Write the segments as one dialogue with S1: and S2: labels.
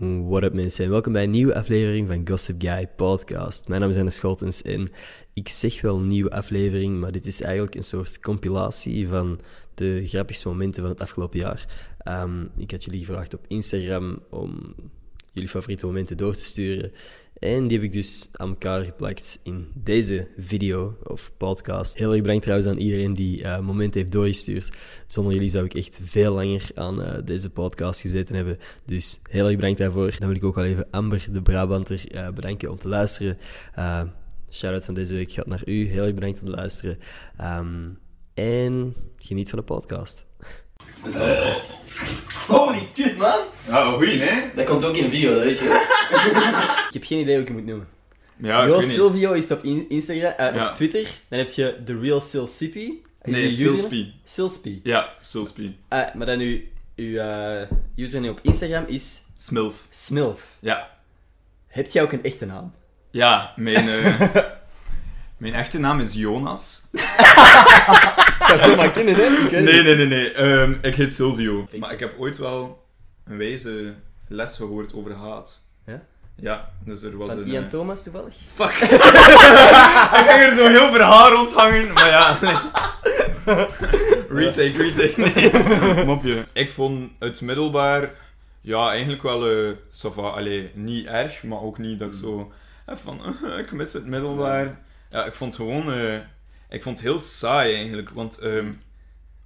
S1: Mm, What up mensen, en welkom bij een nieuwe aflevering van Gossip Guy Podcast. Mijn naam is Anne Scholtens en ik zeg wel nieuwe aflevering, maar dit is eigenlijk een soort compilatie van de grappigste momenten van het afgelopen jaar. Ehm, ik had jullie gevraagd op Instagram om jullie favoriete momenten door te sturen. En die heb ik dus aan elkaar geplakt in deze video of podcast. Heel erg bedankt trouwens aan iedereen die eh, momenten heeft doorgestuurd. Zonder jullie zou ik echt veel langer aan eh, deze podcast gezeten hebben. Dus heel erg bedankt daarvoor. Dan wil ik ook al even Amber de Brabanter eh, bedanken om te luisteren. Eh Shout-out van deze week gaat naar u. Heel erg bedankt om te luisteren. Ehm, en geniet van de podcast. Holy kut, man!
S2: Ja, wel goeie, hè?
S1: Dat komt ook in de video, dat weet je. ik heb geen idee hoe ik het moet noemen. Real
S2: Ja, ik weet niet.
S1: Silvio is het op in- Instagram, eh,
S2: Ja.
S1: op Twitter. Dan heb je The Real Silsipi. Is
S2: Nee,
S1: die username?
S2: Silspi.
S1: Silspi.
S2: Ja, Silspi.
S1: Ah, maar dan uw, uw eh, username op Instagram is
S2: Smilf.
S1: Smilf.
S2: Ja.
S1: Heb jij ook een echte naam?
S2: Ja, mijn, eh, mijn echte naam is Jonas.
S1: Dat zou zomaar kunnen, hè? Ik weet
S2: Nee,
S1: het.
S2: nee, nee, nee. Ehm, ik heet Silvio.
S1: je?
S2: Maar ik heb ooit wel een wijze les gehoord over haat.
S1: Ja?
S2: Ja, dus er was
S1: Van
S2: een...
S1: Ian
S2: eh,
S1: Thomas toevallig?
S2: Fuck. ik ging er zo heel verhaal rondhangen, maar ja. nee. retake, retake. Nee. Mopje. Ik vond het middelbaar, ja, eigenlijk wel eh ça va. Allee, niet erg, maar ook niet dat ik zo eh, van, eh, ik mis het middelbaar. Ja, ik vond het gewoon, eh, ik vond het heel saai eigenlijk, want ehm,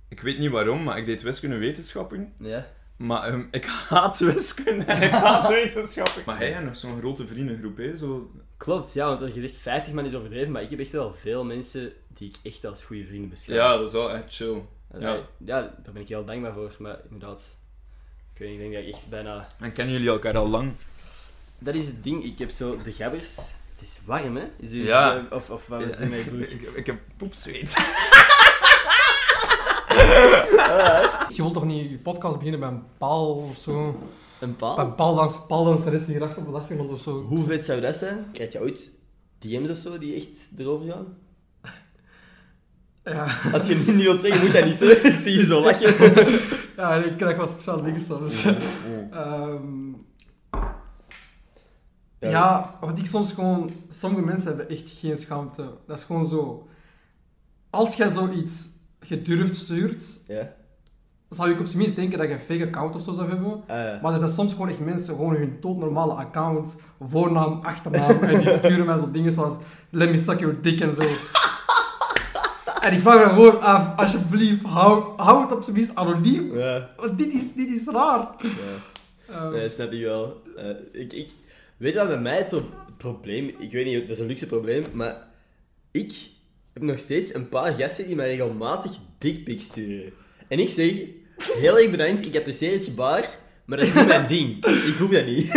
S2: ik weet niet waarom, maar ik deed wiskunde en wetenschappen.
S1: Ja.
S2: Maar ehm, ik haat wiskunde en ik haat wetenschappen. Maar hij en nog zo'n grote vriendengroep, hè, zo
S1: Klopt, ja, want er gezegd 50 man is overdreven, maar ik heb echt wel veel mensen die ik echt als goede vrienden beschouw.
S2: Ja, dat is wel echt chill.
S1: En
S2: ja.
S1: daar- ja, daar ben ik heel dankbaar voor, maar inderdaad, ik weet niet, ik denk dat ik echt bijna...
S2: En kennen jullie elkaar al lang?
S1: Dat is het ding, ik heb zo de gabbers. Het is warm, hè? Is u,
S2: Ja.
S1: Of, of wat was het in mijn broek?
S2: ik, ik heb poepzweet.
S3: Je wilt toch niet je podcast beginnen bij een paal of zo?
S1: Een
S3: Bij
S1: paal?
S3: een paaldanser paaldanseres die recht op de achtergrond of zo.
S1: Hoe vet zou dat zijn? Krijg je ooit DM's of zo die echt erover gaan?
S3: Ja,
S1: Als je het niet wilt zeggen, moet dat niet zeggen. Ik zie je zo lachen.
S3: ja en ik krijg wel speciale dingen soms.
S1: Oh,
S3: Ehm,
S1: Ja.
S3: ja, wat ik soms gewoon... Sommige mensen hebben echt geen schaamte. Dat is gewoon zo... Als jij zoiets gedurfd stuurt,
S1: Ja.
S3: zou ik op zijn minst denken dat je een fake account of zo zou hebben.
S1: Eh,
S3: Maar er zijn soms gewoon echt mensen, gewoon hun doodnormale account, voornaam, achternaam, en die sturen mij zo dingen zoals let me suck your dick en zo. En ik vraag me gewoon af, alsjeblieft, hou, hou het op zijn minst anoniem.
S1: ja.
S3: Want dit is, dit is raar.
S1: ja.
S4: Oh.
S3: Ehm,
S1: Nee, snap ik wel. Eh, ik, ik, weet je wat bij mij het pro- probleem Ik weet niet, dat is een luxe probleem, maar ik heb nog steeds een paar gasten die mij regelmatig dickpics sturen. En ik zeg, heel erg bedankt, ik apprecieer het gebaar, maar dat is niet mijn ding. Ik hoef dat niet.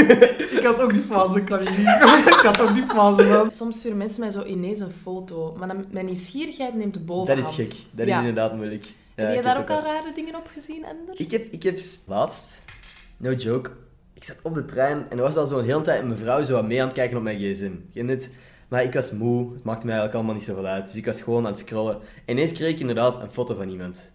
S3: Ik had ook die fase, kan ik niet. ik had ook die fase, man.
S4: Soms sturen mensen mij zo ineens een foto, maar dan, mijn nieuwsgierigheid neemt de
S1: Dat
S4: bovenhand.
S1: is gek. Dat is
S4: Ja.
S1: inderdaad moeilijk. Ja,
S4: Heb je
S1: ik
S4: daar
S1: heb
S4: ook al rare dingen op gezien, Ender?
S1: Ik heb, ik heb laatst, no joke, ik zat op de trein en er was al zo'n hele tijd een mevrouw zo wat mee aan het kijken op mijn gsm. Ken je het? Maar ik was moe, het maakte mij eigenlijk allemaal niet zoveel uit. Dus ik was gewoon aan het scrollen. En ineens kreeg ik inderdaad een foto van iemand.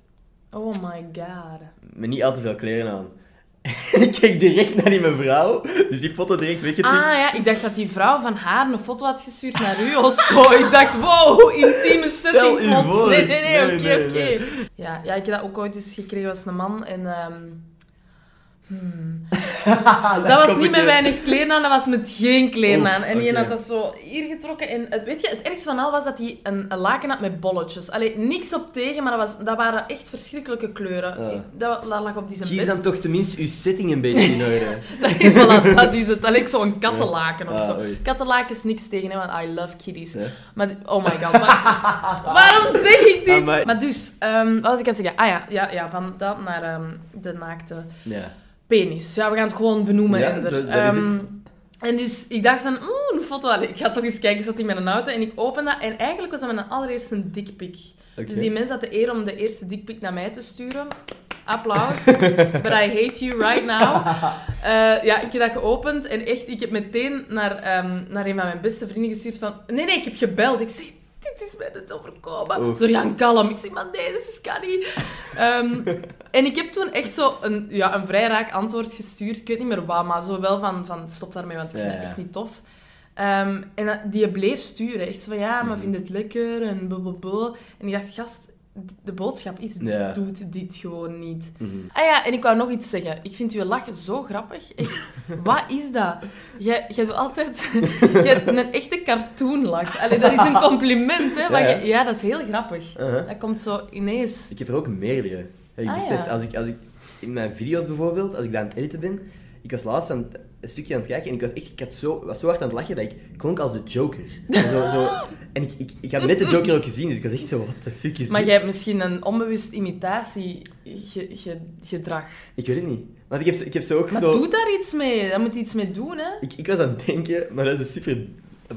S4: Oh my god.
S1: Met niet al te veel kleren aan. En ik keek direct naar die mevrouw, dus die foto direct weggetikt.
S4: Ah ja, ik dacht dat die vrouw van haar een foto had gestuurd naar u of zo. Ik dacht, wow, intieme
S1: Stel
S4: setting.
S1: u
S4: plots.
S1: voor.
S4: Nee, nee, nee,
S1: Nee,
S4: oké,
S1: nee,
S4: oké. Ja, ja, ik heb dat ook ooit eens gekregen als een man en... ehm, hmm. dat was
S1: komt
S4: niet met
S1: weer.
S4: weinig kleren aan, dat was met geen kleren
S1: Oef,
S4: aan. En die
S1: Oh, oké.
S4: had dat zo hier getrokken. En het, weet je, het ergste van al was dat hij een, een laken had met bolletjes. Allee, niks op tegen, maar dat, was, dat waren echt verschrikkelijke kleuren.
S1: Ja.
S4: Ik- Dat, dat lag op die zijn
S1: Ah. Kies
S4: bed.
S1: dan toch tenminste uw setting een beetje in orde.
S4: voilà, dat is het. Dat lijkt zo'n kattenlaken of
S1: Ja.
S4: zo.
S1: Ah, oei.
S4: Kattenlaken is niks tegen, hè, want I love kitties.
S1: Ja.
S4: Maar, di- oh my god, maar- waarom zeg ik dit?
S1: Amai.
S4: Maar dus, ehm, wat was ik aan het zeggen? Ah ja, ja, ja van dat naar ehm, de naakte
S1: Ja.
S4: penis. Ja, we gaan het gewoon benoemen.
S1: Ja,
S4: Ender.
S1: zo- dat is
S4: Ehm,
S1: het.
S4: En dus ik dacht dan, oeh, een foto. Allee, ik ga toch eens kijken. Ik zat in mijn auto en ik open dat. En eigenlijk was dat mijn allereerste dikpik.
S1: Oké.
S4: Dus die mens had de eer om de eerste dikpik naar mij te sturen. Applaus. But I hate you right now. Eh, ja, ik heb dat geopend en echt, ik heb meteen naar, ehm, naar een van mijn beste vrienden gestuurd van... Nee, nee, ik heb gebeld. Ik zeg, dit is mij net overkomen.
S2: Oef.
S4: Door Jan Kalm. Ik zeg, maar nee, dit is kan niet. Ehm, en ik heb toen echt zo een, ja, een vrij raak antwoord gestuurd. Ik weet niet meer wat, maar zo wel van, van stop daarmee, want ik vind
S2: Ja,
S4: het
S2: ja.
S4: echt niet tof. Ehm, en dat- die bleef sturen. Echt zo van, ja,
S2: Mhm.
S4: maar vind het lekker en blablabla. En ik dacht, gast, de boodschap is,
S2: Ja.
S4: doet dit gewoon niet.
S2: Mhm.
S4: Ah ja, en ik wou nog iets zeggen. Ik vind uw lach zo grappig. Echt, wat is dat? Jij, jij doet altijd... jij hebt een echte cartoonlach. Allee, dat is een compliment, hè. Maar
S2: Ja,
S4: ja,
S2: ja.
S4: ja, dat is heel grappig.
S1: Uh-huh.
S4: Dat komt zo ineens.
S1: Ik heb er ook meerdere. Heb ik
S4: Ah,
S1: beseft,
S4: ja.
S1: als, ik, als ik in mijn video's bijvoorbeeld, als ik daar aan het editen ben, ik was laatst aan het- een stukje aan het kijken en ik was echt, ik had zo, was zo hard aan het lachen dat ik klonk als de Joker. zo, zo, en ik, ik, ik had net de Joker ook gezien, dus ik was echt zo, what the fuck is
S4: Maar
S1: dit?
S4: jij hebt misschien een onbewust imitatiegedrag.
S1: Ik weet het niet. Want ik heb, zo- ik heb zo ook
S4: Maar
S1: zo...
S4: doe daar iets mee. Daar moet je iets mee doen, hè.
S1: Ik, ik was aan het denken, maar dat is een super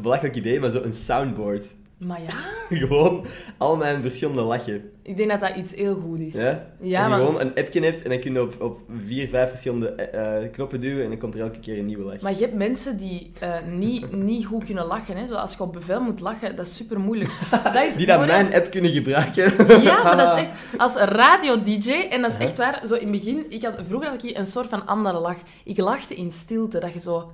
S1: belachelijk idee, maar zo een soundboard.
S4: Maar ja,
S1: Gewoon al mijn verschillende lachen.
S4: ik denk dat dat iets heel goed is.
S1: Ja?
S4: Ja,
S1: dat je
S4: maar-
S1: gewoon een appje hebt en dan kun je op, op vier, vijf verschillende eh, eh, knoppen duwen en dan komt er elke keer een nieuwe lach.
S4: Maar je hebt mensen die eh, niet, niet goed kunnen lachen. Hè. Zo, als je op bevel moet lachen, dat is super moeilijk. Dat is
S1: Die dat
S4: gewoon-
S1: mijn app kunnen gebruiken.
S4: Ja, maar dat is echt als radio-dj. En dat is echt waar. Zo in het begin, ik had, vroeger had ik een soort van andere lach. Ik lachte in stilte, dat je zo,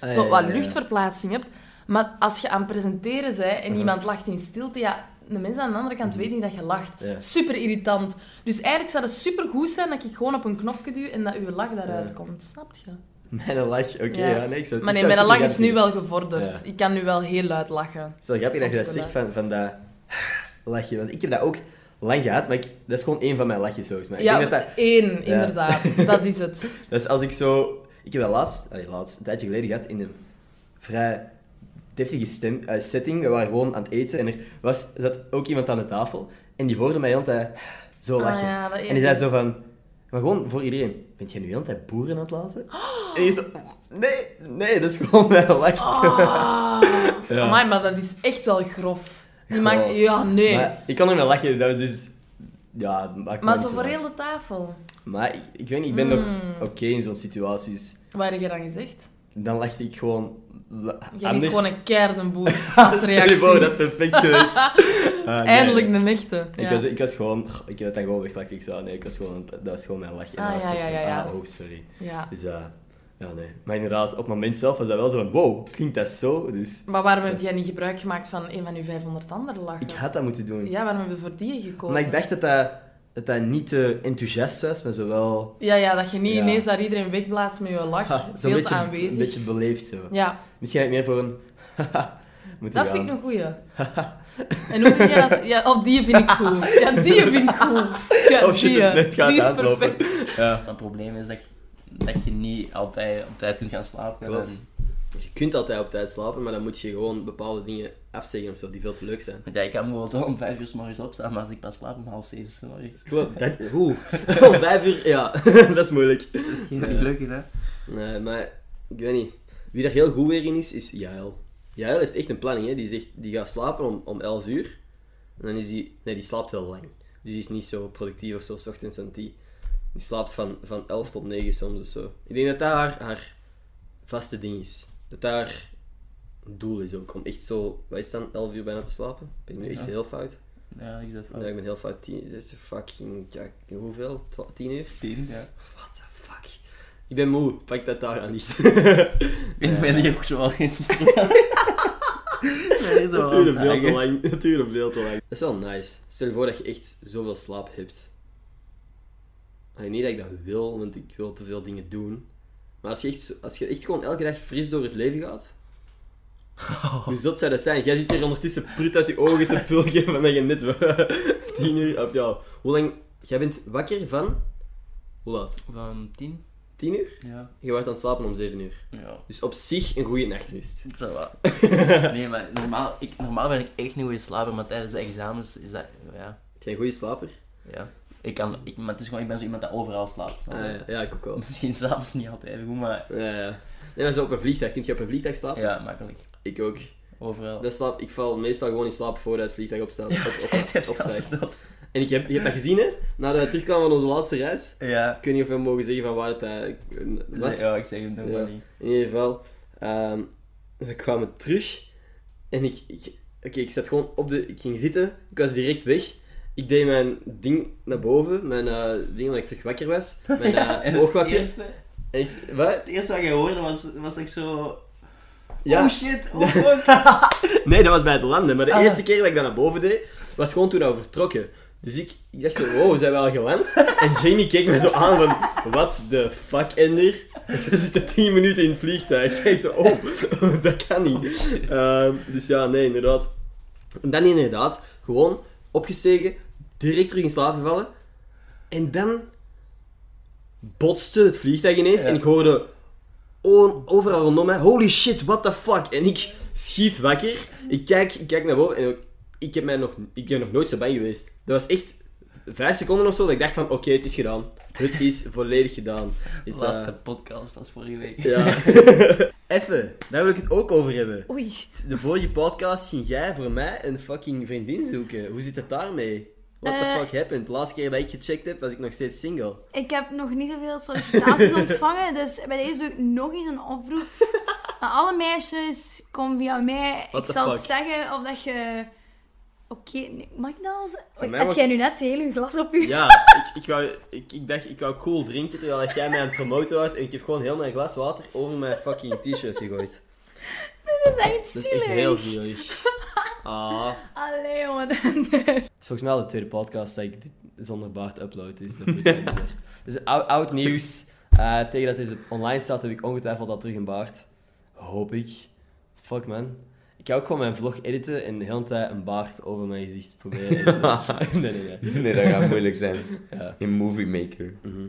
S1: Ah, ja,
S4: zo
S1: ja,
S4: wat
S1: ja.
S4: luchtverplaatsing hebt. Maar als je aan het presenteren bent en
S1: Uh-huh.
S4: iemand lacht in stilte, ja, de mensen aan de andere kant weten niet dat je lacht.
S1: Ja.
S4: Super irritant. Dus eigenlijk zou het super goed zijn dat ik gewoon op een knopje duw en dat uw lach daaruit
S1: Ja.
S4: komt. Snap je?
S1: Mijn lach, oké,
S4: Ja.
S1: ja. nee, ik zou
S4: Maar
S1: ik
S4: nee,
S1: zou
S4: mijn
S1: super
S4: lach is
S1: grappig-
S4: nu wel gevorderd.
S1: Ja.
S4: Ik kan nu wel heel luid lachen.
S1: Het is wel grappig dat je dat
S4: Soms
S1: zegt van, van dat lachje, want ik heb dat ook lang gehad, maar ik, dat is gewoon één van mijn lachjes volgens mij.
S4: ja,
S1: ik denk dat dat
S4: één,
S1: Ja.
S4: inderdaad. Dat is het.
S1: Dat is Dus als ik zo... Ik heb dat laatst, allee, laatst, een tijdje geleden gehad in een vrij deftige stem, eh, setting. We waren gewoon aan het eten en er was, zat ook iemand aan de tafel. En die hoorde mij heel de tijd zo
S4: Ah,
S1: lachen.
S4: ja, dat
S1: en die zei zo van... Maar gewoon voor iedereen. Bent jij nu heel de tijd boeren aan het laten? En ik zo... Nee, nee, dat is gewoon mijn
S4: Oh.
S1: lach.
S4: Ah,
S1: Ja.
S4: Amai, maar dat is echt wel grof. Die
S1: Goh.
S4: maakt... Ja, nee. Maar,
S1: Maar ik kan er mee lachen, dat is dus... Ja, dat maakt
S4: zo
S1: mensen
S4: voor
S1: lachen.
S4: heel Hmm. de tafel.
S1: Maar ik, ik weet niet, ik ben nog oké in zo'n situaties.
S4: Waar heb je dan gezegd?
S1: Dan lachte ik gewoon... la-
S4: Je hebt gewoon een keerdenboer
S1: Ha,
S4: als
S1: stel je
S4: reactie.
S1: voor, dat is perfect geweest. Ah, nee.
S4: Eindelijk een echte.
S1: Ik,
S4: ja.
S1: was, ik was gewoon... Ik heb dat gewoon weggelachen. Ik zo, nee, ik was gewoon, dat was gewoon mijn lachje. En
S4: Ah,
S1: dat was
S4: ja,
S1: zo
S4: ja,
S1: van,
S4: ja, ja.
S1: Ah, oh, sorry.
S4: Ja.
S1: Dus eh, ja, nee. Maar inderdaad, op het moment zelf was dat wel zo van, wow, klinkt dat zo? Dus
S4: Maar waarom heb jij niet gebruik gemaakt van een van uw 500 andere lachen?
S1: ik had dat moeten doen.
S4: Ja, waarom hebben we voor die gekozen?
S1: maar ik dacht dat dat, dat dat niet te enthousiast was, maar zo wel...
S4: Ja, ja, dat je niet
S1: Ja.
S4: ineens daar iedereen wegblaast met je lach.
S1: ha,
S4: Het is
S1: Zo'n
S4: heel
S1: beetje,
S4: aanwezig.
S1: een beetje beleefd zo.
S4: Ja,
S1: Misschien had ik meer voor een... moeten
S4: dat
S1: gaan.
S4: vind ik een goeie. en hoe vind jij dat? Ja, op die vind ik cool. Ja, die vind ik cool. Ja,
S1: Oh shit,
S4: die. eh,
S1: het net gaat
S4: die is
S1: aanlopen.
S4: perfect.
S1: Ja.
S5: Het probleem is dat, dat je niet altijd op tijd kunt gaan slapen.
S1: Klopt.
S5: En-
S1: Je kunt altijd op tijd slapen, maar dan moet je gewoon bepaalde dingen afzeggen of zo, die veel te leuk zijn.
S5: Want ja, ik kan bijvoorbeeld wel om vijf uur 's morgens opstaan, maar als ik pas slaap om half zeven 's morgens.
S1: Klopt. Dat, oeh. Om vijf uur, ja. dat is moeilijk.
S5: Geen
S1: Ja.
S5: gelukkig, hè?
S1: Nee, maar ik weet niet. Wie daar heel goed weer in is, is Jael. Jael heeft echt een planning, hè. Die zegt, die gaat slapen om, om elf uur. En dan is die... Nee, die slaapt wel lang. Dus die is niet zo productief of zo, 's ochtends. Want die, die slaapt van, van elf tot negen soms of zo. Ik denk dat dat haar, haar vaste ding is. Dat daar haar doel is ook. Om echt zo... Wat is het dan? Elf uur bijna te slapen? Ben ik nu echt
S5: Ja.
S1: heel fout?
S5: Ja, ik zeg wel.
S1: Ja, ik ben heel fout. Tien, dit is fucking, ja, hoeveel? Twa- tien uur?
S5: Tien, ja.
S1: What the fuck? Ik ben moe, pak dat daar aan niet.
S5: Ik ben hier ook zo al in. Nee, zo
S1: Dat duurde
S5: wel
S1: veel te
S5: hangen.
S1: lang. Dat duurde veel te lang. Dat is wel nice. Stel je voor dat je echt zoveel slaap hebt. Allee, niet dat ik dat wil, want ik wil te veel dingen doen. Maar als je echt, zo- als je echt gewoon elke dag fris door het leven gaat. Hoe zot zou dat zijn? Jij zit hier ondertussen prut uit je ogen te pulken van dat je net tien uur of ja. Hoe lang? Jij bent wakker van? Hoe laat?
S5: Van tien?
S1: Tien uur?
S5: Ja.
S1: Je wordt aan het slapen om zeven uur.
S5: Ja.
S1: Dus op zich een goede nachtrust.
S5: Het zou wel. Nee, maar normaal, ik, normaal ben ik echt niet goed slapen, maar tijdens de examens is dat. Ja.
S1: Jij een goede slaper?
S5: ja. Ik kan, ik, maar het is gewoon, ik ben zo iemand dat overal slaapt.
S1: Ah, ja. ja, ik ook wel.
S5: Misschien s'avonds niet altijd even goed, maar
S1: Ja, ja. Nee, maar zo op een vliegtuig. Kun je op een vliegtuig slapen?
S5: ja, makkelijk.
S1: Ik ook.
S5: Overal.
S1: Dat slaap, ik val meestal gewoon in slaap voordat het vliegtuig opstaat. Op, op,
S5: Het gaat
S1: opstijgt.
S5: dood.
S1: En ik heb, je hebt dat gezien, hè? Nadat we terugkwamen van onze laatste reis.
S5: Ja.
S1: Ik weet niet of we mogen zeggen van waar het eh, was.
S5: Ja, ik zeg het nog
S1: Ja.
S5: maar niet.
S1: In ieder geval, ehm, we kwamen terug en ik, ik, Oké, ik zat gewoon op de... Ik ging zitten. Ik was direct weg. Ik deed mijn ding naar boven. Mijn eh, ding dat ik terug wakker was. Mijn eh,
S6: het,
S1: oogklapje.
S6: eerste,
S1: En ik... Wat?
S6: het eerste wat je hoorde was, was ik zo...
S1: Ja.
S6: Oh shit, oh fuck.
S1: Nee, dat was bij het landen. Maar de
S6: Ah.
S1: eerste keer dat ik dat naar boven deed, was gewoon toen we vertrokken. Dus ik, ik dacht zo, wow, zijn we al geland? En Jamie keek me zo aan van, what the fuck, Ender? We zitten 10 minuten in het vliegtuig. Kijk zo, oh, dat kan niet. Ehm, dus ja, nee, inderdaad. En dan inderdaad, gewoon opgestegen, direct terug in slaap gevallen. En dan botste het vliegtuig ineens
S6: Ja.
S1: en ik hoorde o- overal rondom mij, holy shit, what the fuck. En ik schiet wakker, ik kijk, ik kijk naar boven en ook- ik, heb mij nog, ik ben nog nooit zo bang geweest. Dat was echt vijf seconden of zo dat ik dacht van, oké, het is gedaan. Het is volledig gedaan.
S6: De
S1: Het, eh,
S6: laatste podcast was vorige week.
S1: ja. Even, daar wil ik het ook over hebben.
S7: Oei.
S1: De vorige podcast ging jij voor mij een fucking vriendin zoeken. Hoe zit het daarmee? What the
S8: Eh.
S1: fuck happened? De laatste keer dat ik gecheckt heb, was ik nog steeds single.
S8: Ik heb nog niet zoveel sollicitaties ontvangen, dus bij deze doe ik nog eens een oproep. Aan alle meisjes, kom via mij.
S1: What
S8: ik
S1: the
S8: zal het
S1: fuck?
S8: zeggen of dat je... Oké, nee, mag ik dat al
S1: Van
S8: zeggen?
S1: mij
S8: Had
S1: mag-
S8: jij nu net je hele glas op je...
S1: Ja, ik, ik, wou, ik, ik dacht ik wou cool drinken terwijl dat jij mij aan het promoten was en ik heb gewoon heel mijn glas water over mijn fucking t-shirt gegooid.
S8: Dat is echt
S1: Dat is echt
S8: zielig.
S1: heel zielig. Ah.
S8: Allee, jongen.
S1: Volgens mij al de tweede podcast dat ik dit zonder baard upload, dus dat moet ik niet meer. Dus oud, oud nieuws. Eh, tegen dat deze online staat heb ik ongetwijfeld al terug een baard. Hoop ik. Fuck man. Ik ga ook gewoon mijn vlog editen en de hele tijd een baard over mijn gezicht proberen. te editen. nee, nee, nee.
S5: Nee, dat gaat moeilijk zijn.
S1: Ja.
S5: In Movie Maker.
S1: Mhm.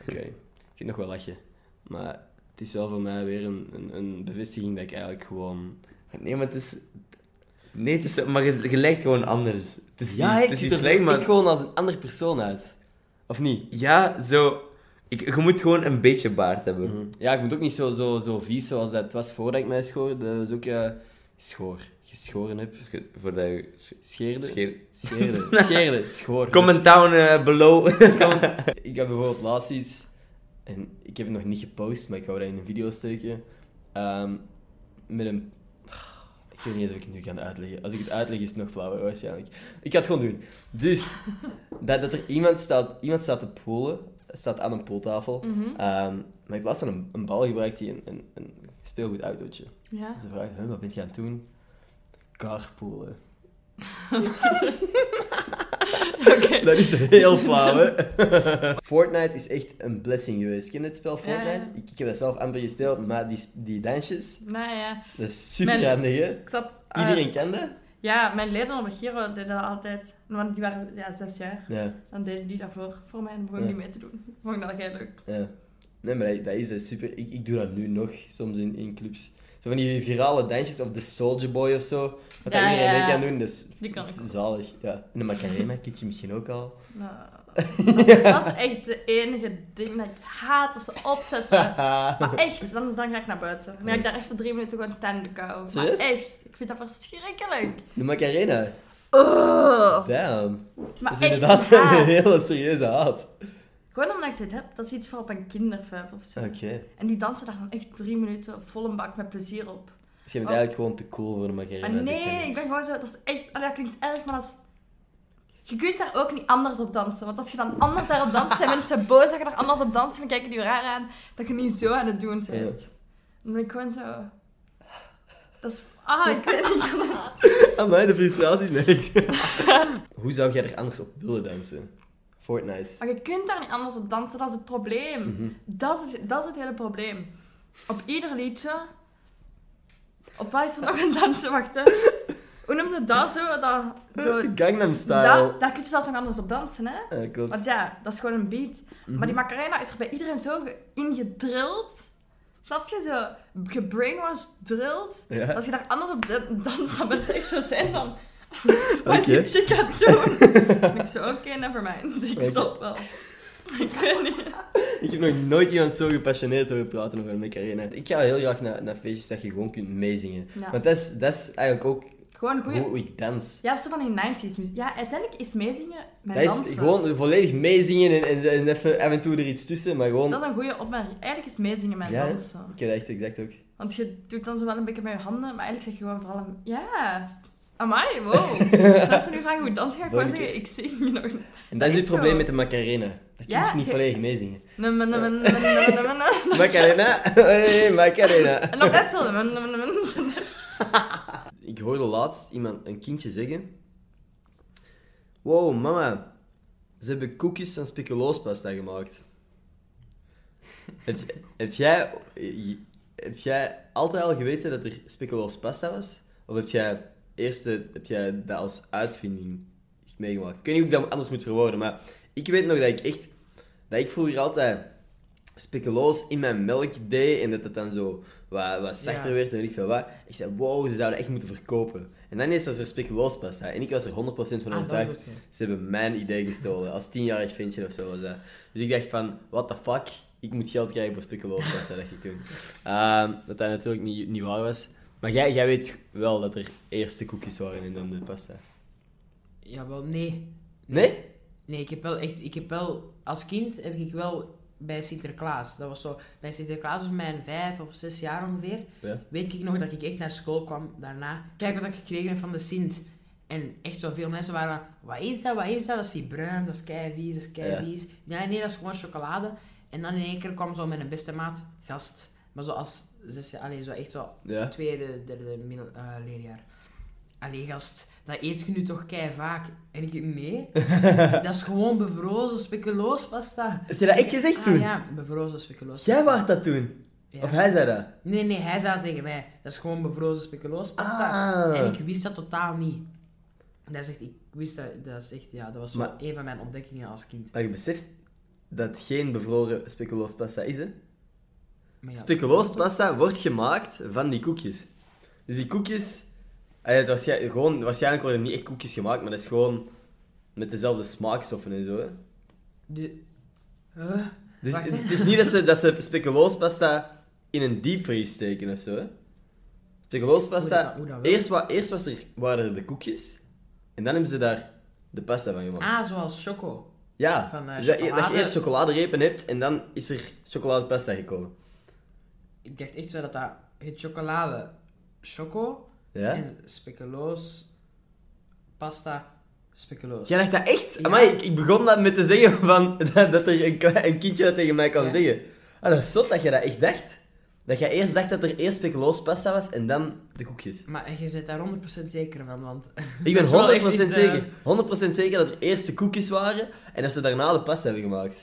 S1: Oké, ik vind nog wel lachen. Maar het is wel voor mij weer een, een, een bevestiging dat ik eigenlijk gewoon...
S5: Nee, maar het is... Nee, het is... Maar je, je lijkt gewoon anders. Het is niet, het is niet
S1: er
S5: slecht, maar...
S1: echt gewoon als een andere persoon uit. Of niet?
S5: Ja, zo... Ik, je moet gewoon een beetje baard hebben.
S1: Mhm. Ja, ik moet ook niet zo, zo, zo vies zoals dat was voordat ik mij schoorde. Dat was ook eh, schoor. Geschoren heb.
S5: Dus je- Voordat je...
S1: Scheerde.
S5: scheert.
S1: Scheerde. Scheerde. Schoor.
S5: Comment down eh, below.
S1: Dus ik heb bijvoorbeeld laatst iets... En ik heb het nog niet gepost, maar ik hou dat in een video steken. Ehm, met een... Ah, Ik weet niet eens of ik het nu kan uitleggen. Als ik het uitleg is het nog flauwer waarschijnlijk. Ik ga het gewoon doen. Dus, dat, dat er iemand staat, iemand staat te poolen. Staat aan een pooltafel. Ehm, maar ik laatst aan een, een bal gebruikt die een, een, een speelgoed autootje.
S7: Ja.
S1: Ze vraagt, "Huh, wat ben je aan het doen? Carpoolen. Dat is heel flauw, hè? Fortnite is echt een blessing geweest. Ken je het spel Fortnite?
S7: Ja, ja.
S1: Ik, ik heb dat zelf amper gespeeld, maar die, die dansjes,
S7: Maar ja,
S1: dat is super
S7: Mijn-
S1: handig, hè?
S7: ik zat... eh,
S1: Iedereen kent dat?
S7: Ja, mijn leden op Giro deden dat altijd. Want die waren ja, zes jaar.
S1: Ja,
S7: Dan deden die dat voor, voor mij en begon
S1: Ja.
S7: die mee te doen. Vond ik dat heel leuk.
S1: ja. Nee, maar dat, dat is eh, super. Ik, ik doe dat nu nog, soms in, in clubs. Zo van die virale dansjes of de Soldier Boy of zo. Wat dat
S7: Ja,
S1: iedereen
S7: ja.
S1: mee kan doen, dat is,
S7: Die kan
S1: is
S7: ik ook.
S1: zalig. Ja. En de Macarena kun je misschien ook al.
S7: Nou, dat, is, dat is echt de enige ding dat ik haat als ze opzetten. Maar echt, dan, dan ga ik naar buiten. Dan ga ik daar echt voor drie minuten gewoon staan in de kou. Maar
S1: Serieus?
S7: echt, ik vind dat verschrikkelijk.
S1: De Macarena.
S7: Oh,
S1: Damn.
S7: maar
S1: dat is
S7: echt,
S1: inderdaad
S7: haat.
S1: een hele serieuze haat.
S7: Gewoon omdat ik zoiets heb, dat is iets voor op een kindervijf of zo.
S1: Oké.
S7: En die dansen daar dan echt drie minuten vol een bak met plezier op.
S1: Dus je bent
S7: Oh.
S1: eigenlijk gewoon te cool voor de Macarena.
S7: Maar nee, ik ben gewoon zo, dat is echt, allee, dat klinkt erg, maar dat is... Je kunt daar ook niet anders op dansen. Want als je dan anders daarop danst, zijn mensen boos dat je daar anders op danst. Dan kijken die je raar aan dat je niet zo aan het doen bent. Dan ben ik gewoon zo... Dat is... Ah, ik weet niet.
S1: Aan mij Ah, de frustraties, nee. ik- Hoe zou jij er anders op willen dansen? Fortnite.
S7: Maar je kunt daar niet anders op dansen, dat is het probleem. dat, is het, dat is het hele probleem. Op ieder liedje... Op wat is er nog een dansje? Wacht, hè. Hoe noemde dat zo? Dat, zo
S1: Gangnam
S7: daar,
S1: Style.
S7: daar kun je zelfs nog anders op dansen, hè?
S1: Eh, klopt.
S7: Want ja, dat is gewoon een beat. Maar
S1: Mhm.
S7: die Macarena is er bij iedereen zo ge- ingedrild. Zat je zo gebrainwashed drilled?
S1: Ja.
S7: Als je daar anders op de- danst, dan ben je echt zo zijn van... Wat
S1: Oké.
S7: is die chick aan het doen? Dan ben ik zo, oké, never mind. Ik stop wel. Ik weet niet.
S1: Ik heb nog nooit iemand zo gepassioneerd over praten over de Macarena. Ik ga heel graag naar, naar feestjes dat je gewoon kunt meezingen.
S7: Ja.
S1: Want dat is, dat is eigenlijk ook
S7: Gewoon goeie...
S1: hoe ik dans.
S7: Ja, of zo van die 90s muziek. Ja, uiteindelijk is meezingen mijn
S1: Dat is
S7: dansen.
S1: gewoon volledig meezingen en, en, en even af en toe er iets tussen, maar gewoon...
S7: Dat is een goede opmerking. Eigenlijk is meezingen mijn
S1: Ja, hè?
S7: dansen.
S1: Ik heb dat echt exact ook.
S7: Want je doet dan zo wel een beetje met je handen, maar eigenlijk zeg je gewoon vooral... een- Ja, Amai, wow. Als mensen nu vragen hoe dans ga ik gewoon
S1: Sorry,
S7: zeggen, ik zing je nog.
S1: En dat is
S7: is
S1: het probleem
S7: zo.
S1: met de Macarena. Daar kun
S7: Ja,
S1: je dus niet
S7: je-
S1: volledig mee zingen.
S7: Num, num, num, num, num, num, num, num.
S1: Macarena, hey, Macarena.
S7: En dan net zo. num, num, num, num.
S1: Ik hoorde laatst iemand, een kindje zeggen... Wow, mama. Ze hebben koekjes van speculoospasta gemaakt. heb, heb, jij, heb jij altijd al geweten dat er speculoospasta was? Of heb jij, eerst de- heb jij dat als uitvinding meegemaakt? Ik weet niet hoe ik dat anders moet verwoorden, maar... Ik weet nog dat ik echt... Dat ik vroeger altijd speculoos in mijn melk deed en dat het dan zo wat, wat zachter
S7: Ja.
S1: werd en weet ik veel wat. Ik zei, wow, ze zouden echt moeten verkopen. En dan is er speculoos pasta en ik was er 100% van
S7: Ah,
S1: overtuigd.
S7: dat doet hij.
S1: Ze hebben mijn idee gestolen. Als tienjarig ventje of zo was dat. Dus ik dacht van, what the fuck? Ik moet geld krijgen voor speculoos pasta, dacht ik toen. Ehm, dat dat natuurlijk niet, niet waar was. Maar jij, jij weet wel dat er eerste koekjes waren en dan de pasta.
S3: Jawel, nee.
S1: Nee?
S3: Nee, ik heb wel echt... Ik heb wel... Als kind heb ik wel bij Sinterklaas. Dat was zo... Bij Sinterklaas was mijn vijf of zes jaar ongeveer.
S1: Ja.
S3: Weet ik nog dat ik echt naar school kwam daarna. Kijk wat ik gekregen heb van de Sint. En echt zoveel mensen waren van... Wat is dat? Wat is dat? Dat is die bruin. Dat is keivies. Dat is keivies. Ja. nee, dat is gewoon chocolade. En dan in één keer kwam zo mijn beste maat gast. Maar zo als zes jaar... Allee, zo echt wel
S1: Ja.
S3: tweede, derde middel, eh, leerjaar. Allee, gast, dat eet je nu toch kei vaak? En ik, nee. dat is gewoon bevrozen speculoospasta.
S1: Heb je dat echt gezegd toen?
S3: Ah, ja, bevrozen speculoospasta.
S1: Jij waart dat toen?
S3: Ja.
S1: Of hij zei dat?
S3: Nee, nee, hij zei dat tegen mij. Dat is gewoon bevrozen speculoospasta.
S1: Ah.
S3: En ik wist dat totaal niet. Dat is echt, ik wist dat, dat is echt, ja, dat was zo
S1: Maar-
S3: een van mijn ontdekkingen als kind.
S1: Maar je beseft dat het geen bevroren speculoos pasta is, hè?
S3: Maar ja,
S1: Speculoos pasta wordt gemaakt van die koekjes. Dus die koekjes... allee, het waarschijn- gewoon, waarschijnlijk worden niet echt koekjes gemaakt, maar dat is gewoon met dezelfde smaakstoffen en zo. Hè?
S3: de, Huh?
S1: Dus
S3: Wacht,
S1: het is niet dat ze, dat ze speculoos pasta in een diepvries steken of zo. hè. Speculoos
S3: Hoe dat-
S1: pasta...
S3: hoe dat wel?
S1: Eerst, wa, eerst was er, waren er de koekjes, en dan hebben ze daar de pasta van gemaakt.
S3: Ah, zoals choco.
S1: Ja,
S3: Van, eh,
S1: dus dat, je- dat je
S3: chocolade.
S1: eerst chocoladerepen hebt en dan is er chocoladepasta gekomen.
S3: Ik dacht echt zo dat dat, het chocolade, choco,
S1: Ja?
S3: En speculoos. Pasta, speculoos.
S1: Jij dacht dat echt?
S3: Ja.
S1: Amai, ik, ik begon dat met te zeggen van, dat, dat er een, kwa- een kindje dat tegen mij kan
S3: Ja.
S1: zeggen. Ah, dat is zot dat je dat echt dacht. Dat je eerst dacht dat er eerst speculoos pasta was en dan de koekjes.
S3: Maar je bent daar 100% zeker van, want...
S1: Ik
S3: Dat
S1: ben
S3: is wel
S1: 100%
S3: echt iets, eh,
S1: zeker. 100% zeker dat er eerst de koekjes waren en dat ze daarna de pasta hebben gemaakt.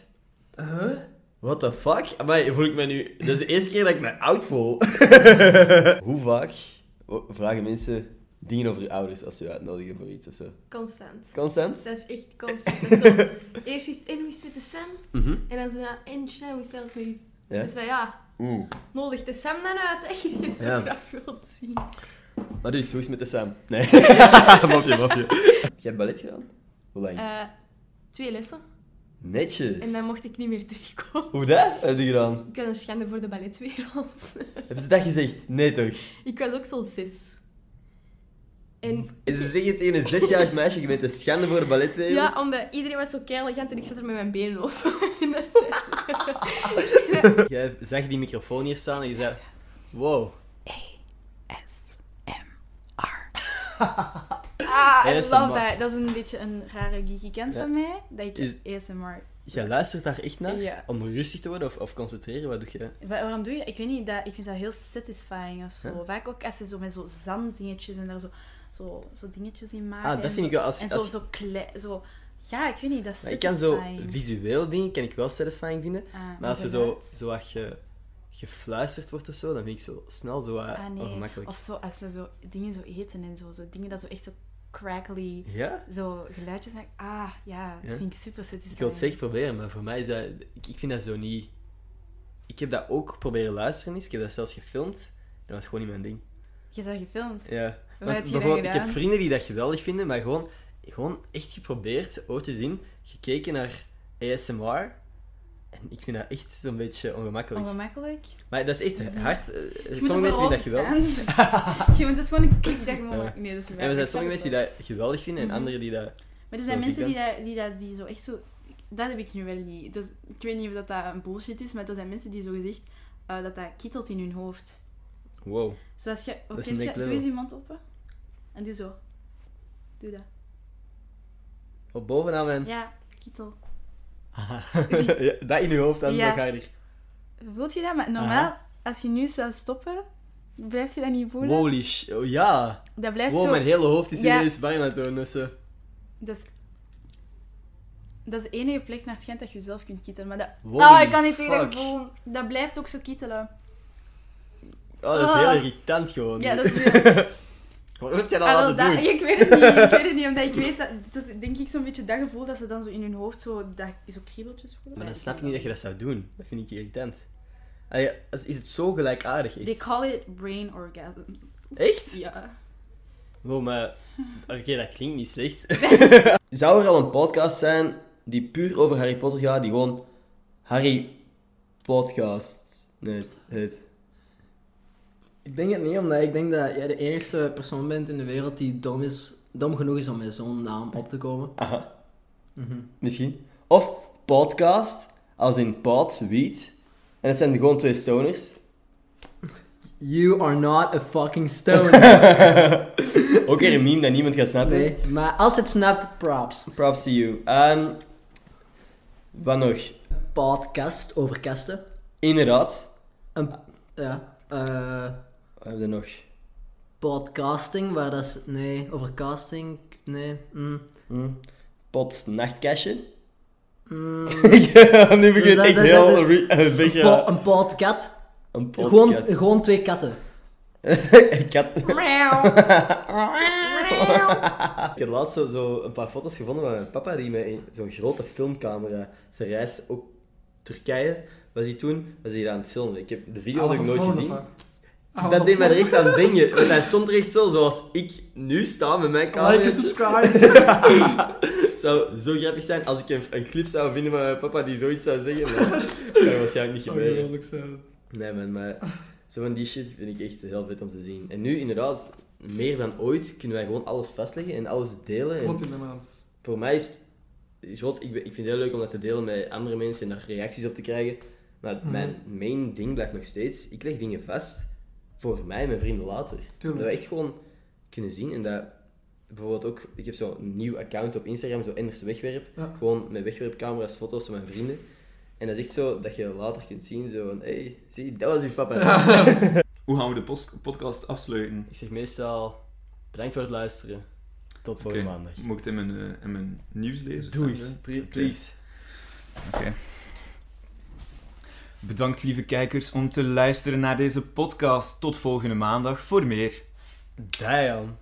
S3: Huh?
S1: What the fuck? Amai, voel ik me nu... Dat is de eerste keer dat ik me oud voel. Hoe vaak vragen mensen dingen over je ouders als ze je uitnodigen voor iets of zo?
S4: Constant.
S1: Constant?
S4: Dat is echt constant. Dat is zo. Eerst is het in, hoe is het met de Sam?
S1: Mhm.
S4: En dan zo na eentje, hoe is het met u?
S1: Ja.
S4: Dus wij, ja,
S1: Oeh.
S4: nodig de Sam dan uit, echt. Die het zo
S1: Ja.
S4: graag wilt zien.
S1: Maar dus, hoe is het met de Sam? Nee. mafje, mafje. Jij hebt ballet gedaan? Hoe lang?
S4: Eh, twee lessen.
S1: Netjes.
S4: En dan mocht ik niet meer terugkomen.
S1: Hoe dat? Heb je gedaan?
S4: Ik was een schande voor de balletwereld.
S1: Hebben ze dat gezegd? Nee toch?
S4: ik was ook zo'n zes. En
S1: En ze zeggen tegen een zesjarig meisje, je bent een schande voor de balletwereld.
S4: ja, omdat iedereen was zo kei elegant en ik zat er met mijn benen over.
S1: Jij zag die microfoon hier staan en je zei... Wow.
S8: Ah, I
S1: ASMR.
S8: love that. Dat is een beetje een rare geeky kant
S1: Ja.
S8: van mij. Dat ik
S1: Is-
S8: ASMR...
S1: Jij luistert daar echt naar?
S8: Ja. Ah,
S1: Om rustig te worden of, of concentreren? Wat doe jij?
S8: Wa- Waarom doe je dat? Ik weet niet, dat, ik vind dat heel satisfying of zo. Vaak ook als ze zo met zo zanddingetjes en daar zo, zo, zo dingetjes in maken.
S1: Ah, dat
S8: en
S1: vind ik
S8: zo-
S1: wel als...
S8: En
S1: als...
S8: zo, zo klein, zo... Ja, ik weet niet, dat is
S1: Maar ik kan zo
S8: satisfying.
S1: visueel dingen kan ik wel satisfying vinden.
S8: Ah,
S1: Maar als je zo,
S8: inderdaad.
S1: zo wat ge, gefluisterd wordt of zo, dan vind ik zo snel zo wat
S8: Ah, nee.
S1: ongemakkelijk.
S8: Of zo, als ze zo dingen zo eten en zo, zo dingen dat zo echt zo crackly,
S1: Ja?
S8: zo geluidjes maken. Ah, ja, dat
S1: Ja?
S8: vind ik super satisfying.
S1: Ik wil het zeker proberen, maar voor mij is dat... Ik, ik vind dat zo niet... Ik heb dat ook proberen luisteren eens. Ik heb dat zelfs gefilmd. En dat was gewoon niet mijn ding.
S8: Je hebt dat gefilmd.
S1: Ja.
S8: Wat
S1: Want
S8: heb je dan
S1: bijvoorbeeld, ik heb
S8: gedaan?
S1: vrienden die dat geweldig vinden, maar gewoon, gewoon echt geprobeerd, oortjes in, gekeken naar ASMR. En ik vind dat echt zo'n beetje ongemakkelijk.
S8: Ongemakkelijk.
S1: maar dat is echt hard. eh,
S8: Mhm. Je moet
S1: sommige
S8: er
S1: mensen
S8: wel
S1: vinden dat geweldig.
S8: opstaan. je moet, dat is gewoon een klik dat je moet
S1: Ja.
S8: maken. Nee, dat is niet
S1: En er zijn
S8: waar. Ik snap
S1: sommige
S8: het
S1: mensen die
S8: wel.
S1: dat geweldig vinden en
S8: Mhm.
S1: anderen die dat...
S8: Maar er zijn
S1: zoals ik
S8: mensen die dat, die dat die zo echt zo... Dat heb ik nu wel niet. Dus, ik weet niet of dat, dat een bullshit is, maar er zijn mensen die zo gezegd eh, dat dat kittelt in hun hoofd.
S1: Wow.
S8: Zoals je...
S1: is
S8: oké, dus
S1: next
S8: je doe
S1: level.
S8: eens je mond open. En doe zo. Doe dat.
S1: Op bovenaan mijn...
S8: Ja, kittel.
S1: Ja, dat in je hoofd en
S8: Ja.
S1: dan ga je er...
S8: Voelt je dat? Maar normaal, als je nu zou stoppen, blijft je dat niet voelen.
S1: Holy sh... Oh, ja.
S8: Dat blijft
S1: Wow,
S8: zo...
S1: mijn hele hoofd is
S8: Ja.
S1: ineens warm aan het dus, eh, worden of zo.
S8: Dat is... Dat is de enige plek naar schijnt dat je jezelf kunt kittelen. Maar dat...
S1: Holy
S8: oh, ik kan niet tegen dat
S1: fuck.
S8: gevoel. Dat blijft ook zo kittelen.
S1: Oh, dat is
S8: Ah.
S1: heel irritant gewoon.
S8: Ja, dat is weer...
S1: Wat heb jij
S8: Ah,
S1: dat
S8: wel,
S1: laten
S8: dat-
S1: doen?
S8: ik weet het niet. Ik weet het niet, omdat ik weet dat... Dat is denk ik zo'n beetje dat gevoel dat ze dan zo in hun hoofd zo... Dat is ook kriebeltjes voelen.
S1: Maar dan snap ik niet dat je dat zou doen. Dat vind ik irritant. Allee, is is het zo gelijkaardig? echt?
S8: They call it brain orgasms.
S1: Echt?
S8: Ja.
S1: Wow, maar... Oké, dat klinkt niet slecht. Zou er al een podcast zijn die puur over Harry Potter gaat, die gewoon Harry Podcast nee, heet?
S9: Ik denk het niet, omdat ik denk dat jij de enige persoon bent in de wereld die dom, is, dom genoeg is om met zo'n naam op te komen.
S1: Aha. Misschien. Of podcast, als in pod, wiet. En dat zijn gewoon twee stoners.
S9: You are not a fucking stoner.
S1: Ook weer een meme dat niemand gaat snappen.
S9: nee, maar als het snapt, props.
S1: Props to you. Ehm, wat nog?
S9: Podcast over kasten.
S1: Inderdaad.
S9: Ja. eh,
S1: Wat hebben we nog?
S9: podcasting, waar dat is... Nee, over casting. Nee. Mm,
S1: Hm? Pod nachtkastje. eh,
S9: mm. Dus
S1: nu begint
S9: dat-
S1: echt
S9: dat-
S1: heel
S9: dat is-
S1: re- een beetje...
S9: Po- een podcast.
S1: Een podcast.
S9: Gewoon, gewoon twee katten.
S1: ik, had,
S4: Meow. Meow.
S1: ik had laatst zo, zo een paar foto's gevonden van mijn papa, die met een- zo'n grote filmcamera, zijn reis ook Turkije, was hij toen, was hij daar aan het filmen. Ik heb de video's ook nooit gezien. Ah, Dat deed mij er echt aan dingen. Want hij stond er echt zo, zoals ik nu sta met mijn
S3: Like en
S1: camera.
S3: subscribe.
S1: Het zou zo grappig zijn als ik een, een clip zou vinden van mijn papa die zoiets zou zeggen, maar dat gaat waarschijnlijk niet
S3: Zou
S1: gebeuren.
S3: geweldig zijn.
S1: Oh, Nee man, maar zo van die shit vind ik echt heel vet om te zien. En nu inderdaad, meer dan ooit, kunnen wij gewoon alles vastleggen en alles delen. En
S3: Klopt inderdaad.
S1: voor mij is het- is wat, ik, ben- ik vind het heel leuk om dat te delen met andere mensen en daar reacties op te krijgen. Maar
S3: Mhm.
S1: mijn main ding blijft nog steeds, ik leg dingen vast voor mij en mijn vrienden later. Dat we
S3: Tuurlijk.
S1: echt gewoon kunnen zien en dat bijvoorbeeld ook, ik heb zo'n nieuw account op Instagram, zo Enders Wegwerp,
S3: Ja.
S1: gewoon met wegwerpcamera's, foto's van mijn vrienden. En dat is echt zo dat je later kunt zien, zo van, hey, zie, dat was uw papa.
S2: Hoe gaan we de pos- podcast afsluiten?
S1: Ik zeg meestal, bedankt voor het luisteren. Tot volgende
S2: Oké.
S1: maandag.
S2: Moet ik het in mijn, eh, in mijn nieuws lezen?
S1: Doei.
S2: Sandra?
S1: Please.
S2: Bedankt lieve kijkers om te luisteren naar deze podcast. Tot volgende maandag voor meer.
S1: Damn.